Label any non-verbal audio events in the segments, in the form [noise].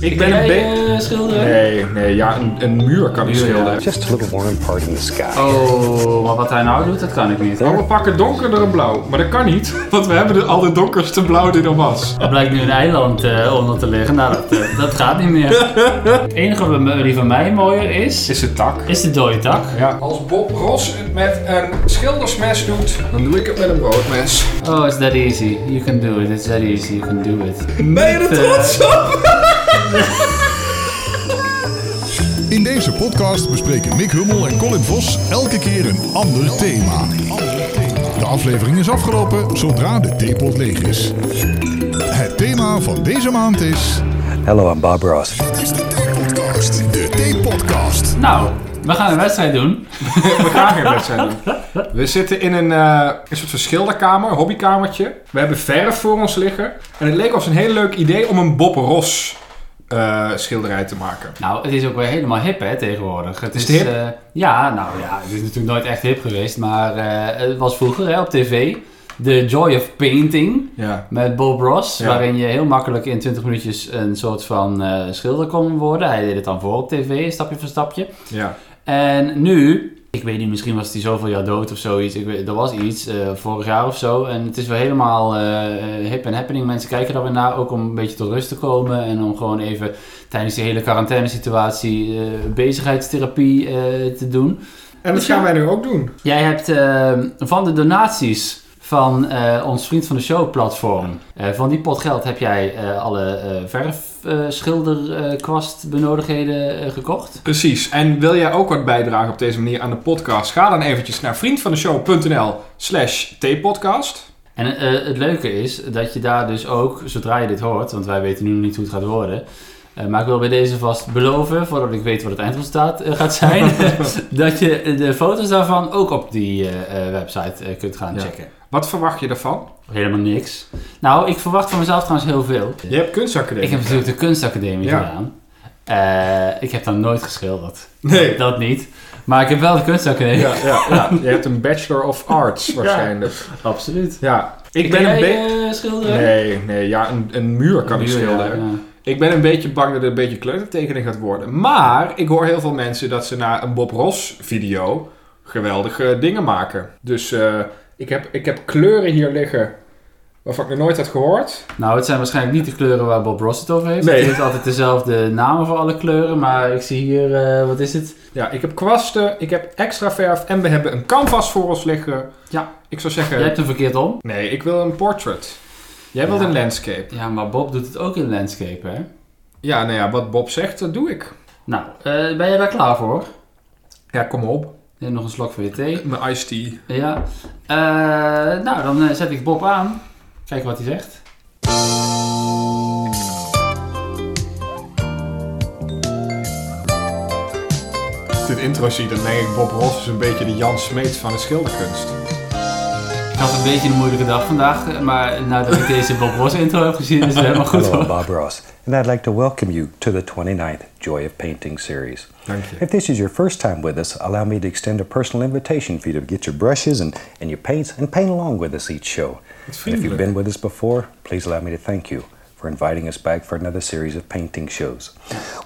Ik ben Jij, een beetje... eh, schilderen? Nee, nee, ja, een, een muur kan ik Muur, ja. schilderen. Just a little warm part in the sky. Oh, maar wat hij nou doet, dat kan ik niet. Maar we pakken donkerder en blauw. Maar dat kan niet, want we hebben de, al de donkerste blauw die er was. Er blijkt nu een eiland eh, onder te liggen. Nou, dat, eh, dat gaat niet [laughs] meer. Het enige wat me- die van mij mooier is, Is het tak? is de dode tak. Ja. Als Bob Ross het met een schildersmes doet, dan doe ik het met een broodmes. Oh, it's that easy. You can do it. It's that easy. You can do [laughs] it. Ben je er eh, trots op? In deze podcast bespreken Mick Hummel en Colin Vos elke keer een ander thema. De aflevering is afgelopen zodra de theepot leeg is. Het thema van deze maand is... Hello, I'm [laughs] Bob Ross. Dit is de theepodcast. De theepodcast. Nou, we gaan een wedstrijd doen. We gaan geen wedstrijd doen. We zitten in een, eh, een soort van schilderkamer, een hobbykamertje. We hebben verf voor ons liggen. En het leek ons een heel leuk idee om een Bob Ross eh, schilderij te maken. Nou, het is ook weer helemaal hip, hè, tegenwoordig. Het Is het hip? eh, ja, nou ja, het is natuurlijk nooit echt hip geweest. Maar eh, het was vroeger, hè, op tv. The Joy of Painting. Ja. Met Bob Ross, Ja. waarin je heel makkelijk in 20 minuutjes een soort van eh, schilder kon worden. Hij deed het dan voor op tv, stapje voor stapje. ja. En nu, ik weet niet, misschien was hij zoveel jaar dood of zoiets. Ik weet, er was iets, eh, vorig jaar of zo. En het is weer helemaal eh, hip en happening. Mensen kijken daar weer naar, ook om een beetje tot rust te komen. En om gewoon even tijdens die hele quarantaine situatie eh, bezigheidstherapie eh, te doen. En dat Dus gaan ja. wij nu ook doen. Jij hebt eh, van de donaties van eh, ons Vriend van de Show platform, eh, van die pot geld heb jij eh, alle eh verf, eh, schilder, eh, kwast benodigdheden eh, gekocht. Precies. En wil jij ook wat bijdragen op deze manier aan de podcast? Ga dan eventjes naar vriendvandeshow.nl slash tpodcast. En eh, het leuke is dat je daar dus ook, zodra je dit hoort, want wij weten nu nog niet hoe het gaat worden. eh, maar ik wil bij deze vast beloven, voordat ik weet wat het eindresultaat eh, gaat zijn, dat je de foto's daarvan ook op die eh, eh, website eh, kunt gaan Ja. checken. Wat verwacht je daarvan? Helemaal niks. Nou, ik verwacht van mezelf trouwens heel veel. Je hebt kunstacademie. Ik heb natuurlijk de kunstacademie Ja. gedaan. Eh, ik heb dan nooit geschilderd. Nee. Dat niet. Maar ik heb wel de kunstacademie. Ja, ja, [laughs] ja. Je hebt een Bachelor of Arts waarschijnlijk. Ja. [laughs] Absoluut. Ik ben een beetje... schilderen? Nee, nee, ja, een, een muur kan ik Muur, ja, schilderen. ja. Ik ben een beetje bang dat het een beetje kleutertekening gaat worden. Maar ik hoor heel veel mensen dat ze na een Bob Ross video geweldige dingen maken. Dus eh, ik, heb, ik heb kleuren hier liggen waarvan ik nog nooit had gehoord. Nou, het zijn waarschijnlijk niet de kleuren waar Bob Ross het over heeft. Nee. Het heeft altijd dezelfde namen voor alle kleuren. Maar ik zie hier, eh, wat is het? Ja, ik heb kwasten, ik heb extra verf en we hebben een canvas voor ons liggen. Ja. Ik zou zeggen, Jij hebt hem verkeerd om. nee, ik wil een portrait. Jij wilt Ja. een landscape. Ja, maar Bob doet het ook in landscape, hè? Ja, nou ja, wat Bob zegt, dat doe ik. Nou, eh, ben je daar klaar voor? Ja, kom op. Neem nog een slok van je thee. Mijn iced tea. Ja. Eh, nou, dan eh, zet ik Bob aan. Kijk wat hij zegt. dit intro zie, dan denk ik Bob Ross is een beetje de Jan Smeets van de schilderkunst. Ik had een beetje een moeilijke dag vandaag, eh, maar nadat ik deze Bob Ross intro heb gezien [laughs] is het helemaal goed Hello, I'm hoor. Bob Ross, and I'd like to welcome you to the 29th Joy of Painting series. Thank you. If this is your first time with us, allow me to extend a personal invitation for you to get your brushes and, and your paints and paint along with us each show. And if you've been with us before, please allow me to thank you for inviting us back for another series of painting shows.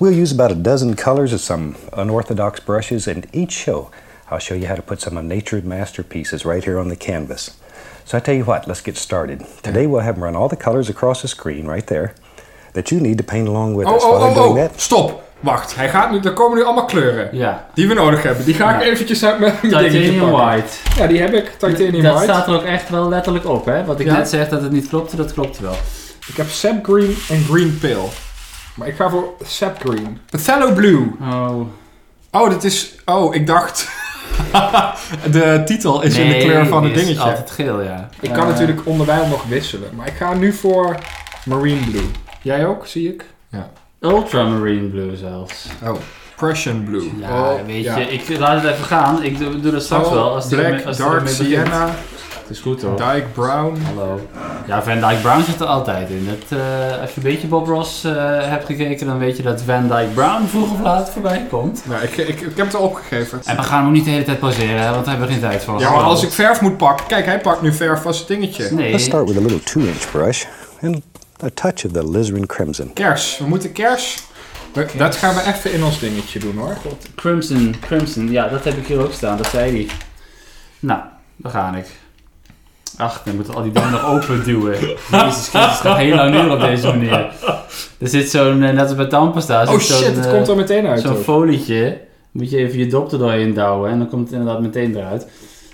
We'll use about a dozen colors of some unorthodox brushes, and each show I'll show you how to put some of nature's masterpieces right here on the canvas. So I tell you what, let's get started. Today we'll have them run all the colors across the screen right there that you need to paint along with Oh, us. oh, While I'm oh, doing oh, that, stop. Wacht, hij gaat nu, er komen nu allemaal kleuren Ja. die we nodig hebben. Die ga ik Ja. eventjes uit mijn [laughs] dingetje Titanium pakken. White. Ja, die heb ik, Titanium dat White. staat er ook echt wel letterlijk op, hè? Wat ik Ja. net zeg dat het niet klopte, dat klopt wel. Ik heb sap green en green pale. Maar ik ga voor sap green. Othello blue. Oh. Oh, dit is... Oh, ik dacht... [laughs] de titel is in de kleur van het die is dingetje. altijd geel, ja. Ik kan Eh, natuurlijk onderwijl nog wisselen. Maar ik ga nu voor marine blue. Jij ook, zie ik? Ja. Ultramarine Blue zelfs. Oh, Prussian blue. Ja, Oh, weet ja. je, ik laat het even gaan. Ik doe, doe dat straks Oh, wel. Als die black, ermee- als die dark, ermee begint. sienna, Het is goed hoor. dyke brown. Hallo. Ja, Van Dyke Brown zit er altijd in. Dat, eh, als je een beetje Bob Ross eh, hebt gekeken, dan weet je dat Van Dyke Brown vroeg of laat voorbij komt. Nou, ik, ik, ik heb het al opgegeven. En we gaan hem ook niet de hele tijd pauzeren, hè, want daar hebben we geen tijd voor. Ja, maar als ik verf moet pakken. Kijk, hij pakt nu verf als het dingetje. Nee, Let's start with a little two inch brush and a touch of the alizarin crimson. Kers, we moeten kers. We- Dat gaan we even in ons dingetje doen hoor. Crimson, Crimson, ja, dat heb ik hier ook staan, dat zei hij. Nou, daar ga ik. Ach, dan moet al die dingen nog open duwen. [laughs] Jezus Christus, het gaat heel lang duren op deze manier. Er zit zo'n, eh, net als bij tandpasta, er Oh zit zo'n, shit, het eh, komt er meteen uit. zo'n ook. folietje. Moet je even je dop er doorheen douwen en dan komt het inderdaad meteen eruit.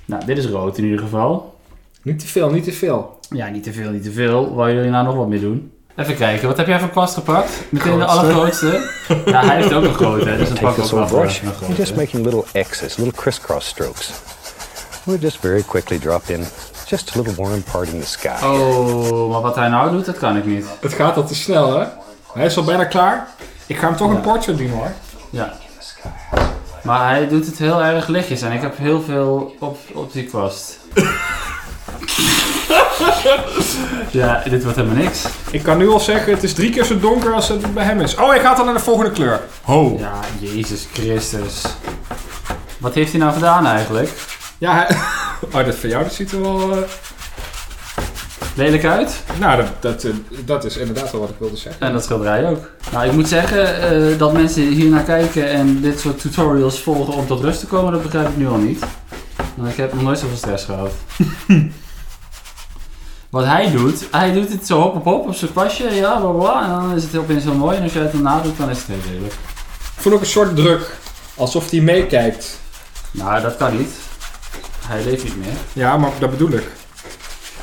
Nou, dit is rood in ieder geval. Niet te veel, niet te veel. Ja, niet te veel, niet te veel. Wou jullie nou nog wat mee doen? Even kijken, wat heb jij voor kwast gepakt? Meteen de allergrootste. ja, hij heeft ook een grote, hè, dus dan Take pak ik ook this wel old voor brush een grote. and just making little X's, little crisscross strokes. We'll just very quickly drop in just a little warm part in the sky. Oh, maar wat hij nou doet, dat kan ik niet. Het gaat al te snel hè. Hij is al bijna klaar. Ik ga hem toch een portrait doen hoor. Ja. Maar hij doet het heel erg lichtjes en ik heb heel veel op, op die kwast. ja, dit wordt helemaal niks. Ik kan nu al zeggen, het is drie keer zo donker als het bij hem is. Oh, hij gaat al naar de volgende kleur. Ho. Ja, Jezus Christus. Wat heeft hij nou gedaan eigenlijk? Ja, hij... [laughs] Oh, dat voor jou, dat ziet er wel... eh, Lelijk uit? Nou, dat, dat, eh, dat is inderdaad wel wat ik wilde zeggen. En dat schilderij ook. Nou, ik moet zeggen eh, dat mensen hier naar kijken en dit soort tutorials volgen om tot rust te komen, dat begrijp ik nu al niet. Want ik heb nog nooit zoveel stress gehad. Wat hij doet, hij doet het zo hop op hop op zijn kwastje, ja, bla bla, en dan is het opeens heel mooi. En als jij het daarna doet, dan is het heel lelijk. Ik voel ook een soort druk. Alsof hij meekijkt. Nou, dat kan niet. Hij leeft niet meer. Ja, maar dat bedoel ik.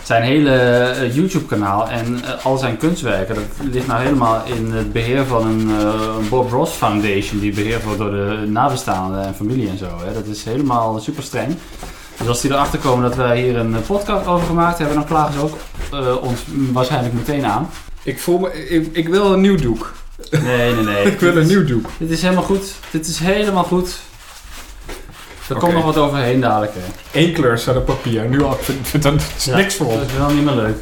Zijn hele eh, YouTube-kanaal en eh, al zijn kunstwerken, dat ligt nou helemaal in het beheer van een eh, een Bob Ross Foundation, die beheerd wordt door de nabestaanden en familie en zo. Hè. Dat is helemaal super streng. Dus als die erachter komen dat wij hier een eh, podcast over gemaakt hebben, dan klagen ze ook eh, ons mm, waarschijnlijk meteen aan. Ik voel me... Ik, ik wil een nieuw doek. Nee, nee, nee. [laughs] Ik wil een nieuw doek. Dit is helemaal goed. Dit is helemaal goed. Er Oké. komt nog wat overheen dadelijk. Hè. Eén kleur staat op papier. Nu al, [laughs] ik vind, vind dat is Ja, niks voor ons. Dat is wel niet meer leuk.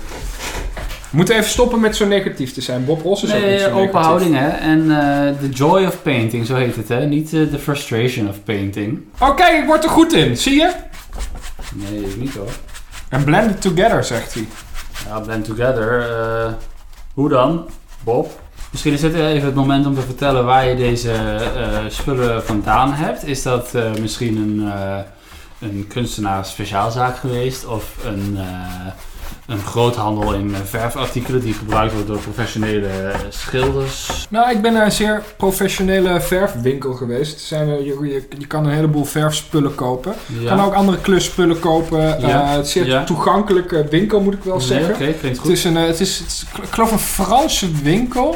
We moeten even stoppen met zo negatief te zijn. Bob Ross is ook niet zo Nee, negatief. open houding hè. En eh, The Joy of Painting, zo heet het hè. Niet eh, The Frustration of Painting. Oh, kijk, ik word er goed in. Zie je? Nee, ik niet hoor. En blend it together, zegt hij. Ja, Nou, Blend Together. eh, hoe dan, Bob? Misschien is dit even het moment om te vertellen waar je deze eh, spullen vandaan hebt. Is dat eh, misschien een, eh, een kunstenaar speciaalzaak geweest? Of een, eh, een groothandel in eh, verfartikelen die gebruikt wordt door professionele eh, schilders? Nou, ik ben naar een zeer professionele verfwinkel geweest. Zijn er, je, je, je kan een heleboel verfspullen kopen. Je Ja. kan ook andere klusspullen kopen. Eh, het is een zeer ja. toegankelijke winkel, moet ik wel Nee, zeggen. Oké, klinkt Het goed. is, een, eh, het, is, het is, ik geloof, een Franse winkel.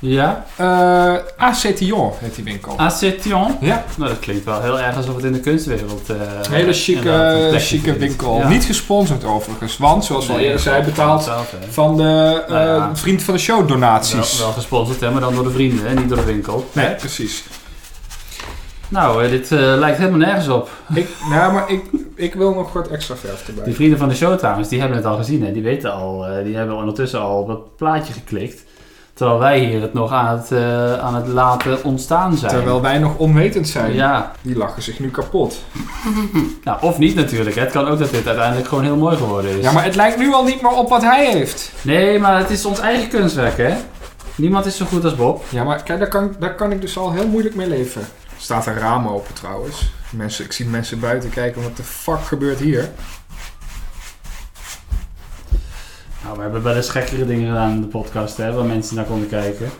Ja. Eh Acetion heet die winkel. Acetion? Ja. Nou, dat klinkt wel heel erg alsof het in de kunstwereld... eh, Een hele inderdaad een chique, eh, plekje chique vindt. winkel. Ja. Niet gesponsord overigens, want zoals we al Nee, eerder zei, betaald betaald, hè. van de eh, Nou ja. vriend van de show donaties. Wel, wel gesponsord, hè, maar dan door de vrienden, hè, niet door de winkel. Nee, precies. Nou, eh, dit eh, lijkt helemaal nergens op. Ik, nou, maar ik, ik wil nog wat extra verf erbij. Die vrienden van de show trouwens, die hebben het al gezien. Hè. Die weten al, eh, die hebben ondertussen al op dat plaatje geklikt. Terwijl wij hier het nog aan het, eh, aan het laten ontstaan zijn. Terwijl wij nog onwetend zijn. Ja, Die lachen zich nu kapot. nou, of niet natuurlijk. hè. Het kan ook dat dit uiteindelijk gewoon heel mooi geworden is. Ja, maar het lijkt nu al niet meer op wat hij heeft. Nee, maar het is ons eigen kunstwerk, hè? Niemand is zo goed als Bob. Ja, maar kijk, daar kan, daar kan ik dus al heel moeilijk mee leven. Er staat een raam open trouwens. Mensen, ik zie mensen buiten kijken, wat de fuck gebeurt hier? Nou, we hebben wel eens gekkere dingen gedaan in de podcast, hè, waar mensen naar konden kijken. [laughs]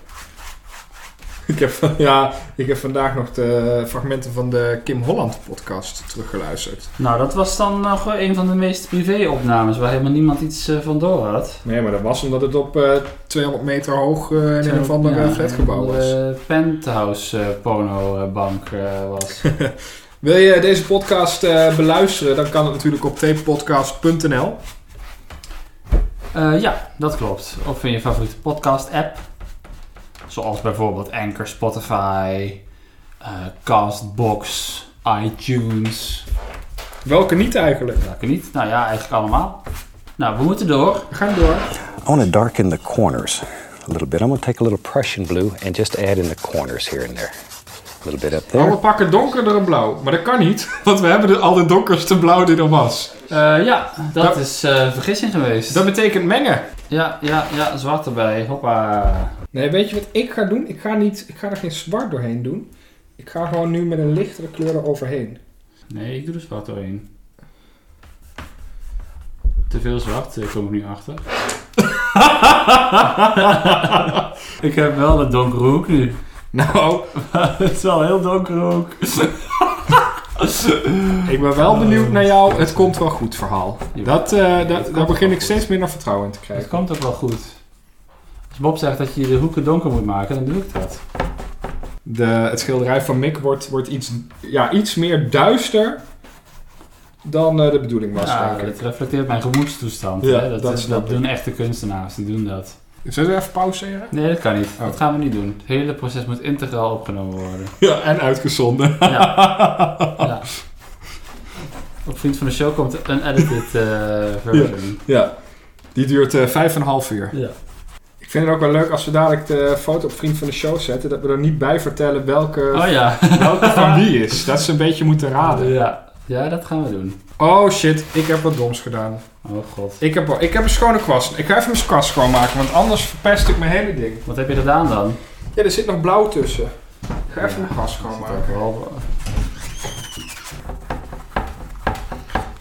Ik heb, van- ja, ik heb vandaag nog de fragmenten van de Kim Holland podcast teruggeluisterd. Nou, dat was dan nog een van de meest privé-opnames waar helemaal niemand iets eh, van door had. Nee, maar dat was omdat het op eh, 200 meter hoog eh, in een of ander Ja, eh, flatgebouw een, was. eh, penthouse eh, porno-bank eh, was. Wil je deze podcast eh, beluisteren, dan kan het natuurlijk op tpodcast.nl. Eh, ja, dat klopt. Of in je favoriete podcast-app. Zoals bijvoorbeeld Anchor, Spotify, eh, Castbox, iTunes. Welke niet eigenlijk? Welke niet? Nou ja, eigenlijk allemaal. Nou, we moeten door. We gaan door. I want to darken the corners a little bit. I'm going to take a little Prussian blue and just add in the corners here and there. A little bit up Maar we there. pakken donkerder en blauw. Maar dat kan niet, [laughs] want we hebben de, al de donkerste blauw die er was. Eh, ja, dat Ja. is eh, vergissing geweest. Dat betekent mengen. Ja, ja, ja, zwart erbij. Hoppa. Nee, weet je wat ik ga doen? Ik ga, niet, ik ga er geen zwart doorheen doen. Ik ga gewoon nu met een lichtere kleur eroverheen. Nee, ik doe er zwart doorheen. Te veel zwart, eh, kom ik nu achter. [laughs] ik heb wel een donkere hoek nu. Nou, [laughs] Het is wel een heel donkere hoek. ik ben wel benieuwd naar jou. Het komt wel goed verhaal. Dat, eh, dat, daar begin ik steeds meer naar vertrouwen in te Het krijgen. komt ook wel goed. Als Bob zegt dat je de hoeken donker moet maken, dan doe ik dat. De, het schilderij van Mick wordt, wordt iets, ja, iets meer duister dan eh, de bedoeling was, Ja, denk ik. het reflecteert mijn gemoedstoestand. Ja, hè? Dat, dat is, snap dat ik. doen echte kunstenaars, die doen dat. Zullen we even pauzeren? Nee, dat kan niet. Oh. Dat gaan we niet doen. Het hele proces moet integraal opgenomen worden. [laughs] Ja, en uitgezonden. Ja. ja. Op Vriend van de Show komt een edited eh, version. Ja. Die duurt eh, vijf en een half uur. Ja. Ik vind het ook wel leuk als we dadelijk de foto op Vriend van de Show zetten, dat we er niet bij vertellen welke, [laughs] Oh ja. welke van wie is. Dat ze een beetje moeten raden. ja. Ja, dat gaan we doen. Oh shit, ik heb wat doms gedaan. Oh god. Ik heb, wel- ik heb een schone kwast. Ik ga even mijn kwast schoonmaken, want anders verpest ik mijn hele ding. Wat heb je gedaan dan? Ja, er zit nog blauw tussen. Ik ga even mijn kwast Dat is schoonmaken. wel-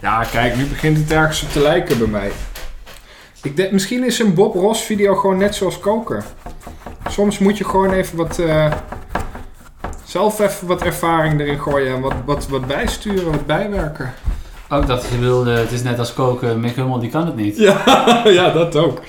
Ja, kijk, nu begint het ergens op te lijken bij mij. Ik denk, misschien is een Bob Ross video gewoon net zoals koken. Soms moet je gewoon even wat... eh, zelf even wat ervaring erin gooien en wat, wat, wat bijsturen, wat bijwerken. Oh, dat je wilde, het is net als koken, Mick Hummel die kan het niet. Ja, [laughs] ja, dat ook.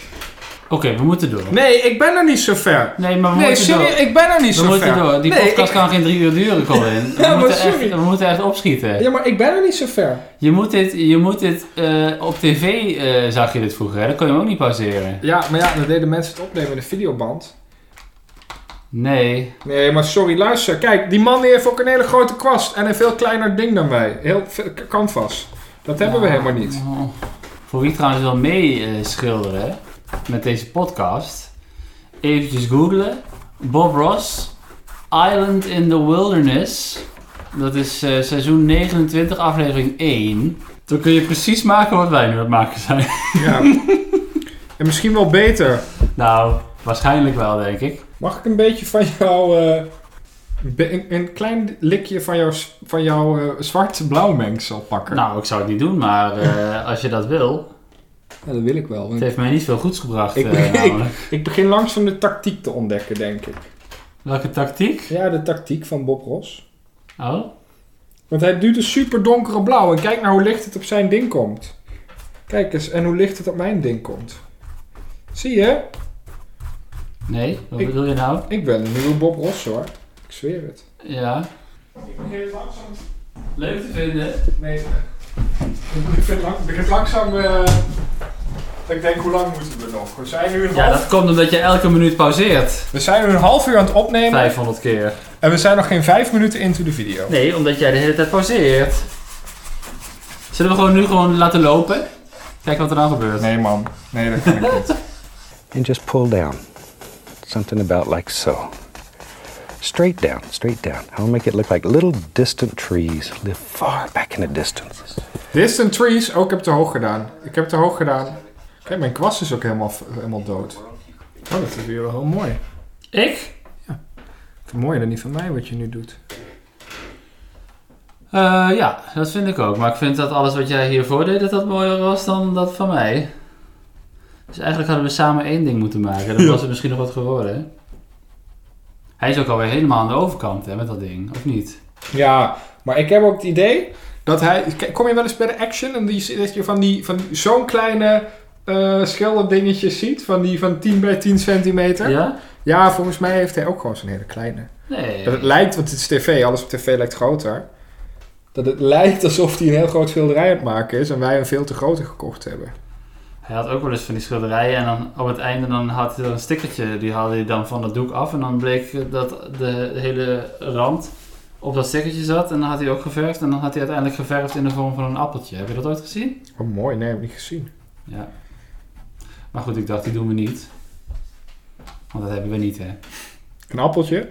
Oké, we moeten door. Nee, ik ben er niet zo ver. Nee, maar we Nee, moeten sorry, door. ik ben er niet We zo moeten ver. door. Die nee, podcast ik- kan geen drie uur duren, [laughs] Colin. We, Ja, maar moeten, echt, sorry. we moeten echt opschieten. Ja, maar ik ben er niet zo ver. Je moet dit, je moet dit eh, op tv eh, zag je dit vroeger, hè? Dat kon je hem ook niet pauzeren. Ja, maar ja, dan deden mensen het opnemen in een videoband. Nee. Nee, maar sorry, luister. Kijk, die man die heeft ook een hele grote kwast en een veel kleiner ding dan wij. Heel veel k- canvas. Dat hebben we Ja. helemaal niet. Oh. Voor wie trouwens wil meeschilderen met deze podcast, eventjes googlen. Bob Ross, Island in the Wilderness. Dat is eh, seizoen 29, aflevering 1. Dan kun je precies maken wat wij nu aan het maken zijn. [laughs] Ja. [laughs] en misschien wel beter. nou, waarschijnlijk wel, denk ik. Mag ik een beetje van jou... eh, be- een, een klein likje van jouw, s- van jouw eh, zwart-blauw mengsel pakken? Nou, ik zou het niet doen, maar eh, als je dat wil. Ja, dat wil ik wel. Het want heeft mij niet veel goeds gebracht. Ik- eh, ik- namelijk. Ik begin langzaam de tactiek te ontdekken, denk ik. Welke tactiek? Ja, de tactiek van Bob Ross. Oh, Want hij duwt een super donkere blauw. En kijk nou hoe licht het op zijn ding komt. Kijk eens, en hoe licht het op mijn ding komt. Zie je? nee. Wat Ik- bedoel je nou? Ik ben een nieuwe Bob Ross hoor. Ik zweer het. Ja. Ik begin langzaam... Leuk te vinden. Nee. Ik vind lang, begin langzaam... eh, dat ik denk, hoe lang moeten we nog? We zijn nu een Ja, half, dat komt omdat je elke minuut pauzeert. we zijn nu een half uur aan het opnemen. 500 keer. En we zijn nog geen vijf minuten into de video. Nee, omdat jij de hele tijd pauzeert. Zullen we gewoon nu gewoon laten lopen? Kijk wat er dan gebeurt. Nee man. Nee, dat kan ik niet. and just pull down. Something about like so. Straight down, straight down. I'll make it look like little distant trees live far back in the distance. Distant Trees, ook heb te hoog gedaan. Ik heb te hoog gedaan. Kijk, mijn kwast is ook helemaal, helemaal dood. Oh, dat is weer wel heel mooi. Ik? Mooier dan die van mij wat je nu doet. Eh, ja, dat vind ik ook. Maar ik vind dat alles wat jij hiervoor deed, dat dat mooier was dan dat van mij. Dus eigenlijk hadden we samen één ding moeten maken. Dan was het misschien nog wat geworden. Hij is ook alweer helemaal aan de overkant hè, met dat ding, of niet? Ja, maar ik heb ook het idee dat hij... Kijk, Kom je wel eens bij de action en die, dat je van, die, van zo'n kleine eh schilderdingetjes ziet? Van die van 10 bij 10 centimeter? Ja, Ja? volgens mij heeft hij ook gewoon zo'n hele kleine. Nee. Dat het lijkt, want het is tv, alles op tv lijkt groter. Dat het lijkt alsof hij een heel groot schilderij aan het maken is en wij een veel te grote gekocht hebben. Hij had ook wel eens van die schilderijen en dan op het einde dan had hij er een stickertje, die haalde hij dan van dat doek af en dan bleek dat de hele rand op dat stickertje zat en dan had hij ook geverfd en dan had hij uiteindelijk geverfd in de vorm van een appeltje. Heb je dat ooit gezien? Oh, mooi. Nee, heb ik niet gezien. Ja. Maar goed, ik dacht, die doen we niet. Want dat hebben we niet, hè. Een appeltje?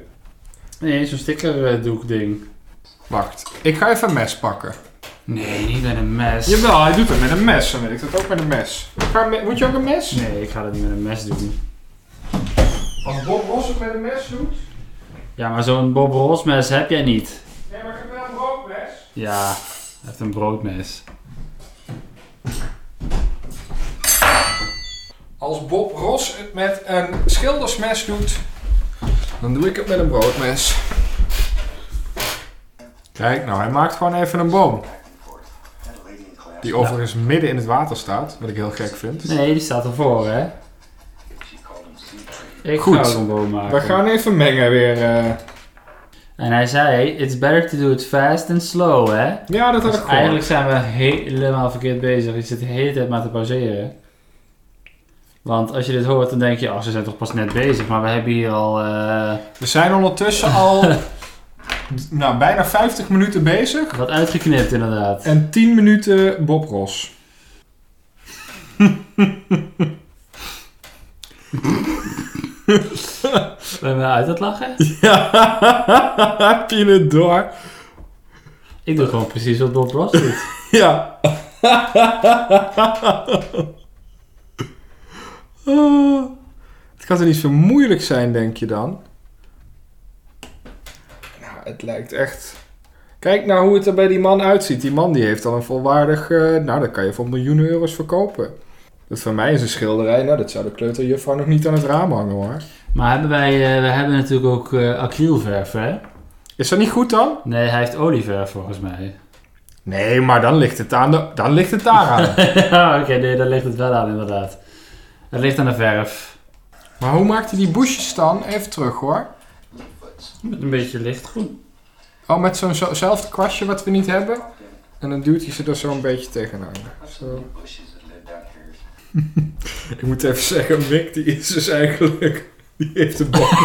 Nee, zo'n stickerdoek ding. Wacht. Ik ga even een mes pakken. Nee, niet met een mes. Jawel, hij doet het met een mes. Dan weet ik dat ook met een mes. Ga me- moet je ook een mes? Nee, ik ga dat niet met een mes doen. Als Bob Ross het met een mes doet... Ja, maar zo'n Bob Ross mes heb jij niet. Nee, maar ik heb wel een broodmes. Ja, hij heeft een broodmes. Als Bob Ross het met een schildersmes doet... Dan doe ik het met een broodmes. Kijk, nou hij maakt gewoon even een boom. Die overigens midden in het water staat. Wat ik heel gek vind. Nee, die staat ervoor, hè? Ik Goed. ga ook een boom maken. We gaan even mengen weer. eh. En hij zei, it's better to do it fast and slow, hè? Ja, dat had ik Dus gehoord. eigenlijk zijn we helemaal verkeerd bezig. Je zit de hele tijd maar te pauzeren. Want als je dit hoort, dan denk je, oh, ze zijn toch pas net bezig. Maar we hebben hier al... eh, We zijn ondertussen al [laughs] nou, bijna 50 minuten bezig. Wat uitgeknipt inderdaad. En 10 minuten Bob Ross. Ben je uit het lachen? Ja, heb je het door? Ik doe gewoon precies wat Bob Ross doet. Ja. Ah, [laughs] het kan toch niet zo moeilijk zijn, denk je dan? Nou, het lijkt echt... Kijk nou hoe het er bij die man uitziet. Die man die heeft al een volwaardig... eh, nou, dat kan je voor miljoenen euro's verkopen. Dat van mij is een schilderij. Nou, dat zou de kleuterjuffrouw nog niet aan het raam hangen, hoor. Maar hebben wij, eh, we hebben natuurlijk ook eh, acrylverf, hè? Is dat niet goed dan? Nee, hij heeft olieverf volgens mij. Nee, maar dan ligt het, aan de, dan ligt het daaraan. [laughs] [laughs] Ja, Ah, Oké, nee, daar ligt het wel aan inderdaad. Het ligt aan de verf. maar hoe maakt hij die boesjes dan? Even terug hoor. Met een beetje lichtgroen. Oh, met zo'n zo- zelfde kwastje wat we niet hebben. En dan duwt hij ze er zo een beetje tegenaan. Zo. [laughs] Ik moet even zeggen, Mick die is dus eigenlijk... Die heeft de bomen...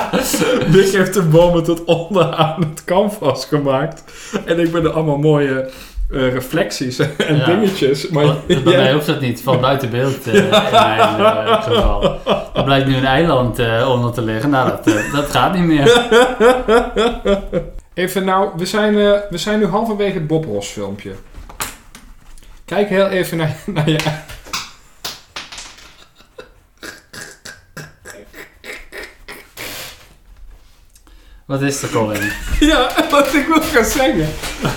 [laughs] Mick heeft de bomen tot onderaan het canvas gemaakt. En ik ben er allemaal mooie eh, reflecties [laughs] en Ja. dingetjes. Maar [laughs] Bij jij- mij hoeft dat niet, van buiten beeld eh, in mijn eh, geval. Er blijkt nu een eiland eh, onder te liggen. Nou, dat, eh, dat gaat niet meer. Even nou, we zijn, eh, we zijn nu halverwege het Bob Ross filmpje. Kijk heel even naar, [laughs] naar je... Wat is er, Colin? Ja, [laughs] wat ik wil gaan zeggen.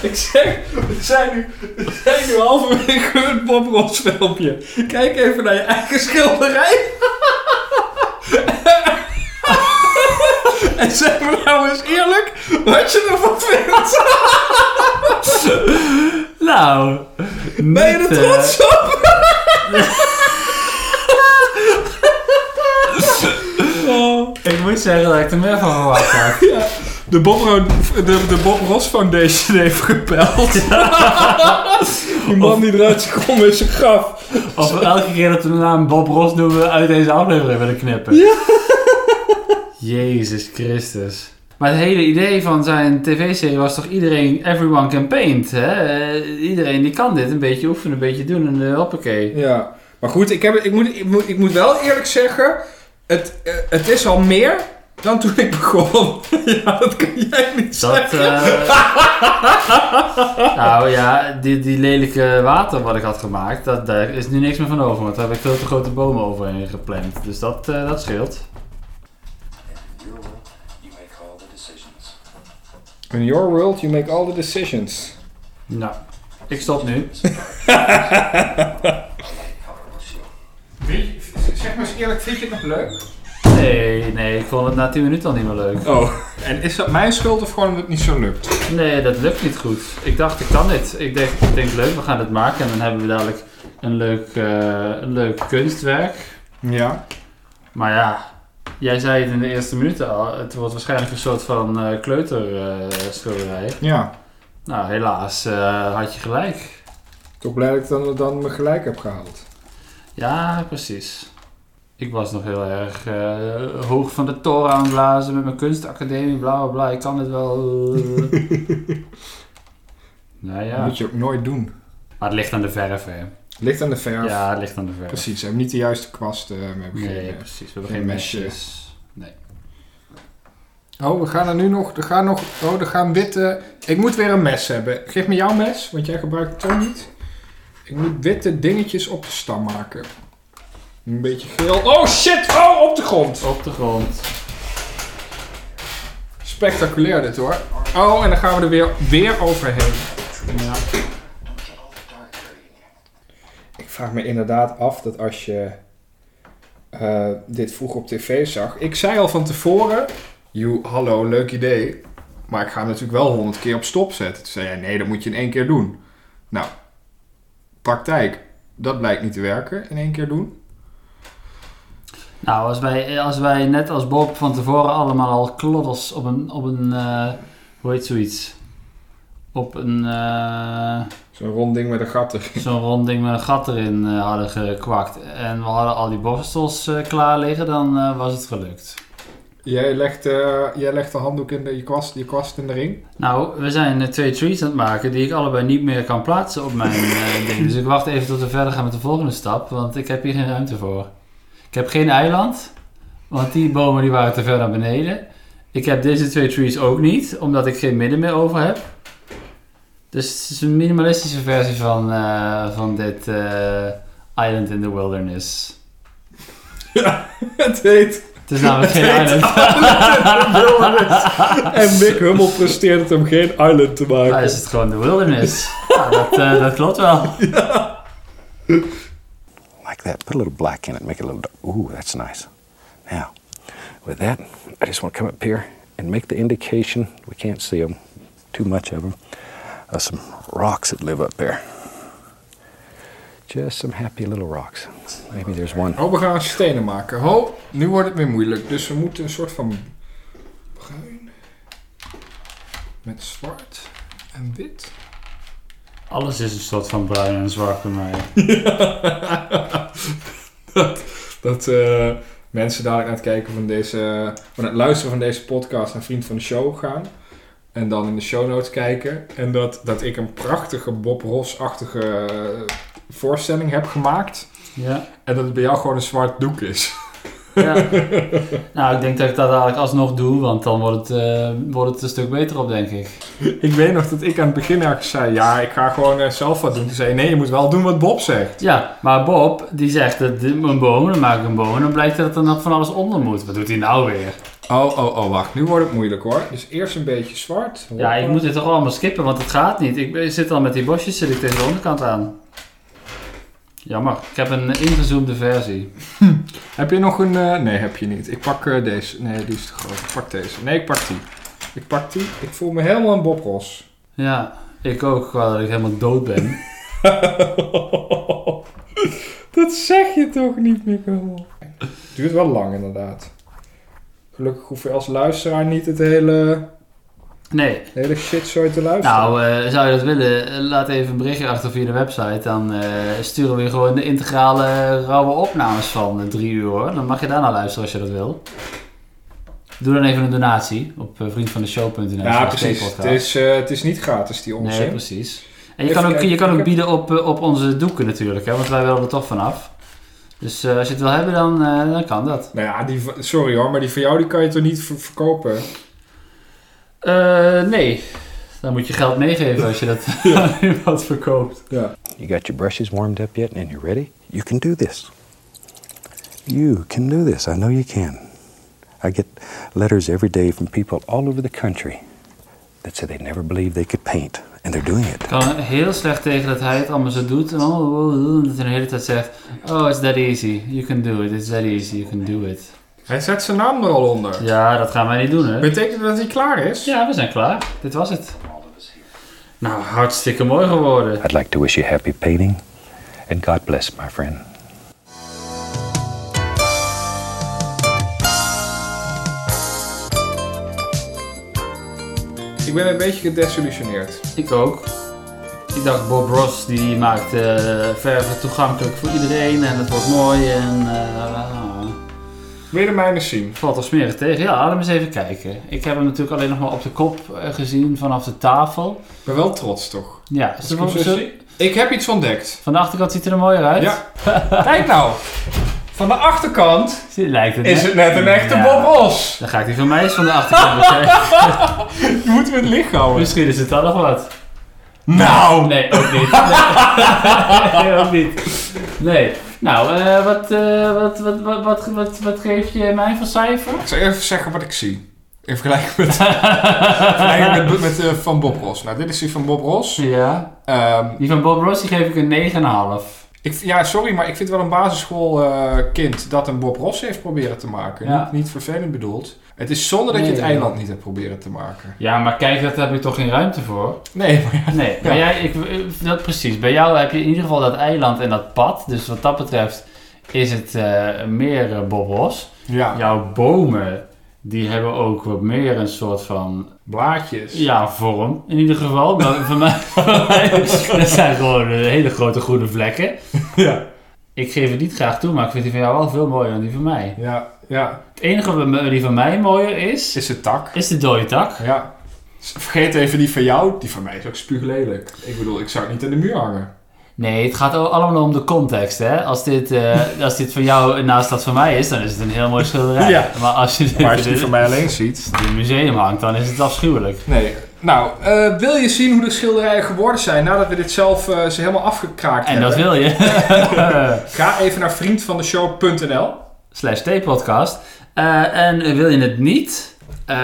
Ik zeg, we zijn nu, we zijn nu halverwege het Bob Ross filmpje. Kijk even naar je eigen schilderij. [laughs] En zeg me nou eens eerlijk wat je ervan vindt. Nou, Ben je er niet, eh, trots op? eh, Ik moet zeggen dat ik er meer van verwacht had. De Bob, Ro- de, de Bob Ross Foundation heeft gepeld. [laughs] Die man die eruit is gekomen is een graf. Of we elke keer dat we de naam Bob Ross noemen uit deze aflevering willen knippen. Jezus Christus. Maar het hele idee van zijn tv-serie was toch iedereen, everyone can paint, hè? Eh, iedereen die kan dit een beetje oefenen, een beetje doen en eh, hoppakee. Ja, maar goed, ik, heb, ik, moet, ik, moet, ik moet wel eerlijk zeggen, het, eh, het is al meer dan toen ik begon. [laughs] ja, dat kan jij niet Dat, zeggen. eh, [laughs] nou ja, die, die lelijke water wat ik had gemaakt, dat, daar is nu niks meer van over, want daar heb ik veel te grote bomen overheen gepland. Dus dat, eh, dat scheelt. In your world, you make all the decisions. Nou, ik stop nu. Zeg maar eens eerlijk, vind je het nog leuk? Nee, nee, ik vond het na 10 minuten al niet meer leuk. Oh, en is dat mijn schuld of gewoon omdat het niet zo lukt? Nee, dat lukt niet goed. Ik dacht, ik kan dit. Ik denk, ik denk leuk, we gaan dit maken en dan hebben we dadelijk een leuk, eh, een leuk kunstwerk. Ja. Maar ja, jij zei het in de eerste minuten al. Het wordt waarschijnlijk een soort van eh kleuterschilderij. Ja. nou, helaas eh, had je gelijk. Toch blij dat ik dan, dan me gelijk heb gehaald. Ja, precies. Ik was nog heel erg eh, hoog van de toren aan het blazen met mijn kunstacademie, bla bla bla. Ik kan het wel. nou ja, Dat moet je ook nooit doen. maar Ah, het ligt aan de verf, hè? Ligt aan de verf. Ja, het ligt aan de verf. Precies, ze hebben niet de juiste kwast. eh, we hebben Nee, geen, eh, precies. We hebben geen geen mesje. mesjes. Nee. Oh, we gaan er nu nog... Er gaan nog... Oh, er gaan witte... Ik moet weer een mes hebben. Geef me jouw mes, want jij gebruikt het toch niet. Ik moet witte dingetjes op de stam maken. Een beetje geel. Oh, shit! Oh, op de grond! Op de grond. Spectaculair dit, hoor. Oh, en dan gaan we er weer, weer overheen. Ja. Ik vraag me inderdaad af dat als je eh, dit vroeg op tv zag. Ik zei al van tevoren: Joe, hallo, leuk idee. Maar ik ga hem natuurlijk wel honderd keer op stop zetten. Toen zei hij: Nee, dat moet je in één keer doen. Nou, praktijk. Dat blijkt niet te werken in één keer doen. Nou, als wij, als wij net als Bob van tevoren allemaal al klodders op een, op een eh, hoe heet zoiets? Op een, eh, Zo'n rond ding met een gat erin. [laughs] zo'n rond ding met een gat erin eh, hadden gekwakt en we hadden al die borstels eh, klaar liggen, dan eh, was het gelukt. Jij legt, eh, jij legt de handdoek in de, je, kwast, je kwast in de ring. Nou, we zijn eh, twee trees aan het maken die ik allebei niet meer kan plaatsen op mijn eh, ding. Dus ik wacht even tot we verder gaan met de volgende stap, want ik heb hier geen ruimte voor. Ik heb geen eiland, want die bomen die waren te ver naar beneden. Ik heb deze twee trees ook niet, omdat ik geen midden meer over heb. Dus het is een minimalistische versie van, eh, van dit eh, Island in the Wilderness. [laughs] Het heet. Het is namelijk geen island. En Mick Hummel presteert het om geen island te maken. Daar is het gewoon de wilderness. Ja, dat, eh, dat klopt wel. like that. Put a little black in it, make it a little dark. Ooh, that's nice. Now, with that, I just want to come up here and make the indication. We can't see them, too much of them, of some rocks that live up there. Just some happy little rocks. Maybe there's one. Oh, we gaan stenen maken. Ho, nu wordt het weer moeilijk. Dus we moeten een soort van bruin met zwart en wit. Alles is een soort van bruin en zwart bij mij. [laughs] dat dat eh, mensen dadelijk naar het kijken van deze, van het luisteren van deze podcast naar vriend van de show gaan. En dan in de show notes kijken. En dat, dat ik een prachtige Bob Ross-achtige eh, voorstelling heb gemaakt. Ja. En dat het bij jou gewoon een zwart doek is. [laughs] ja. [laughs] nou, ik denk dat ik dat eigenlijk alsnog doe, want dan wordt het, eh, wordt het een stuk beter op, denk ik. Ik weet nog dat ik aan het begin ergens zei: Ja, ik ga gewoon eh, zelf wat doen. Toen zei je, Nee, je moet wel doen wat Bob zegt. Ja, maar Bob, die zegt dat dit- een boom, dan maak ik een boom en dan blijkt dat er nog van alles onder moet. Wat doet hij nou weer? Oh, oh, oh, wacht. Nu wordt het moeilijk hoor. Dus eerst een beetje zwart. Ja, ik moet dit toch allemaal skippen, want het gaat niet. Ik ben- zit al met die bosjes, zit ik tegen de onderkant aan. Jammer, ik heb een ingezoomde versie. Heb je nog een. eh, nee, heb je niet. Ik pak eh, deze. Nee, die is te groot. Ik pak deze. Nee, ik pak die. Ik pak die. Ik voel me helemaal een Bob Ross. Ja, ik ook, qua dat ik helemaal dood ben. [laughs] dat zeg je toch niet, Mikkel? Het duurt wel lang inderdaad. Gelukkig hoef je als luisteraar niet het hele, Nee, hele shit zo te luisteren. Nou, eh, zou je dat willen, eh, laat even een berichtje achter via de website. Dan eh, sturen we je gewoon de integrale eh, rauwe opnames van eh, drie uur hoor. Dan mag je daar naar luisteren als je dat wil. Doe dan even een donatie op eh, vriendvandeshow.nl. ja, Nou, precies. Het is, eh, het is niet gratis, die onzin. Nee, precies. En je Even kan, ook, je kijken, kan ik ook heb- bieden op, eh, op onze doeken natuurlijk, hè, want wij willen er toch vanaf. Dus eh, als je het wil hebben, dan, eh, dan kan dat. Nou ja, die, v- sorry hoor, maar die van jou die kan je toch niet ver- verkopen? Eh, nee, dan moet je geld meegeven als je dat [laughs] aan iemand verkoopt. Ja. You got your brushes warmed up yet and you're ready? You can do this. You can do this. I know you can. I get letters every day from people all over the country that say they never believed they could paint, and they're doing it. Ik kan heel slecht tegen dat hij het allemaal zo doet. En oh, oh, oh, dat hij de hele tijd zegt: Oh, it's that easy. You can do it. It's that easy. You can do it. Hij zet zijn naam er al onder. Ja, dat gaan wij niet doen, hè? Betekent dat hij klaar is? Ja, we zijn klaar. Dit was het. Nou, hartstikke mooi geworden. I'd like to wish you happy painting, and God bless, my friend. Ik ben een beetje gedesillusioneerd. Ik ook. Ik dacht, Bob Ross die maakt eh verven toegankelijk voor iedereen en het wordt mooi en. eh, Wil je de mijne zien? Valt al smerig tegen. Ja, laat hem eens even kijken. Ik heb hem natuurlijk alleen nog maar op de kop eh, gezien vanaf de tafel. Ik ben wel trots toch? Ja, Als ik hem zo zo- zie. Ik heb iets ontdekt. van de achterkant ziet hij er mooier uit. Ja. Kijk nou! Van de achterkant Lijkt het is het net een echte Ja. Bob Ross. Dan ga ik die van mij eens van de achterkant bekijken. Moeten we het licht [laughs] houden? Misschien is het dan nog wat. Nou! Nee, ook [laughs] niet. Nee, [laughs] Nee, ook niet. Nee. Nou, eh, wat, eh, wat, wat, wat, wat, wat, wat geef je mij voor cijfer? Ik zal even zeggen wat ik zie. In vergelijking [laughs] met, vergelijking met, met eh, Van Bob Ross. Nou, dit is die van Bob Ross. Ja. Ehm, Die van Bob Ross die geef ik een 9,5. ik, ja, sorry, maar ik vind wel een basisschoolkind kind dat een Bob Ross heeft proberen te maken. Ja. Niet, niet vervelend bedoeld. Het is zonde dat je Nee, het ja. eiland niet hebt proberen te maken. Ja, maar kijk, daar heb ik toch geen ruimte voor? Nee, maar ja. Nee, maar jij, ik, eh, dat precies. Bij jou heb je in ieder geval dat eiland en dat pad. Dus wat dat betreft is het eh, meer eh, Bob Ross. ja. Jouw bomen, die hebben ook wat meer een soort van Blaadjes. Ja, vorm in ieder geval. [laughs] Maar voor mij, voor mij- dat zijn gewoon eh, hele grote groene vlekken. Ja. Ik geef het niet graag toe, maar ik vind die van jou wel veel mooier dan die van mij. Ja, ja. Het enige wat me- die van mij mooier is, Is het tak? is de dode tak. Ja. Vergeet even die van jou. Die van mij is ook spuuglelijk. Ik bedoel, ik zou het niet aan de muur hangen. Nee, het gaat al- allemaal om de context. Hè? Als, dit, eh, als dit van jou naast dat van mij is, dan is het een heel mooi schilderij. Ja. Maar als je dit Maar als [laughs] je die van mij alleen ziet. in een museum hangt, dan is het afschuwelijk. Nee. Nou, eh, wil je zien hoe de schilderijen geworden zijn nadat we dit zelf eh, ze helemaal afgekraakt En hebben? dat wil je. Ga even naar vriendvandeshow.nl. Slash T-podcast. Eh, en wil je het niet? eh,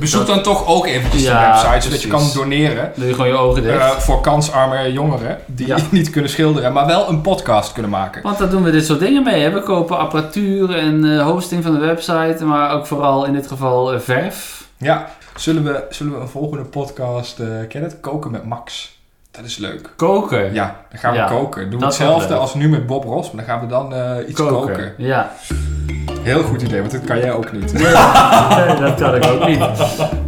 Bezoek dan toch ook eventjes Ja, de website, zodat je kan precies. doneren. Doe je gewoon je ogen dicht. eh, voor kansarme jongeren die Ja. [laughs] niet kunnen schilderen, maar wel een podcast kunnen maken. Want daar doen we dit soort dingen mee. Hè? We kopen apparatuur en eh, hosting van de website, maar ook vooral in dit geval eh, verf. Ja, zullen we, zullen we een volgende podcast eh kennen? het? Koken met Max. Dat is leuk. Koken. Ja, dan gaan we Ja, koken. Doen we dat is wel hetzelfde leuk. als nu met Bob Ross, maar dan gaan we dan eh, iets koken. Ja, Heel goed idee, want dat kan jij ook niet. Nee, dat kan ik ook niet.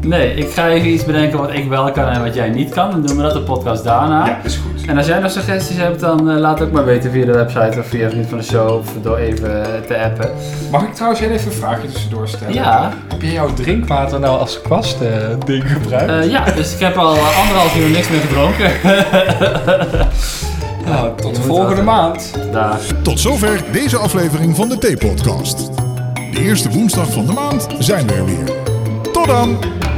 Nee, ik ga even iets bedenken wat ik wel kan en wat jij niet kan. Dan doen we dat de podcast daarna. Ja, is goed. En als jij nog suggesties hebt, dan eh, laat het ook maar weten via de website of via Vriend van de Show of door even eh, te appen. Mag ik trouwens heel even een vraagje tussendoor stellen? Ja, Heb je jouw drinkwater nou als kwast eh, ding gebruikt? eh, ja dus ik heb al eh, anderhalf uur niks meer gedronken. nou, tot de moet volgende altijd- maand. Daar. Tot zover deze aflevering van de Theepodcast. De eerste woensdag van de maand zijn we er weer. Tot dan!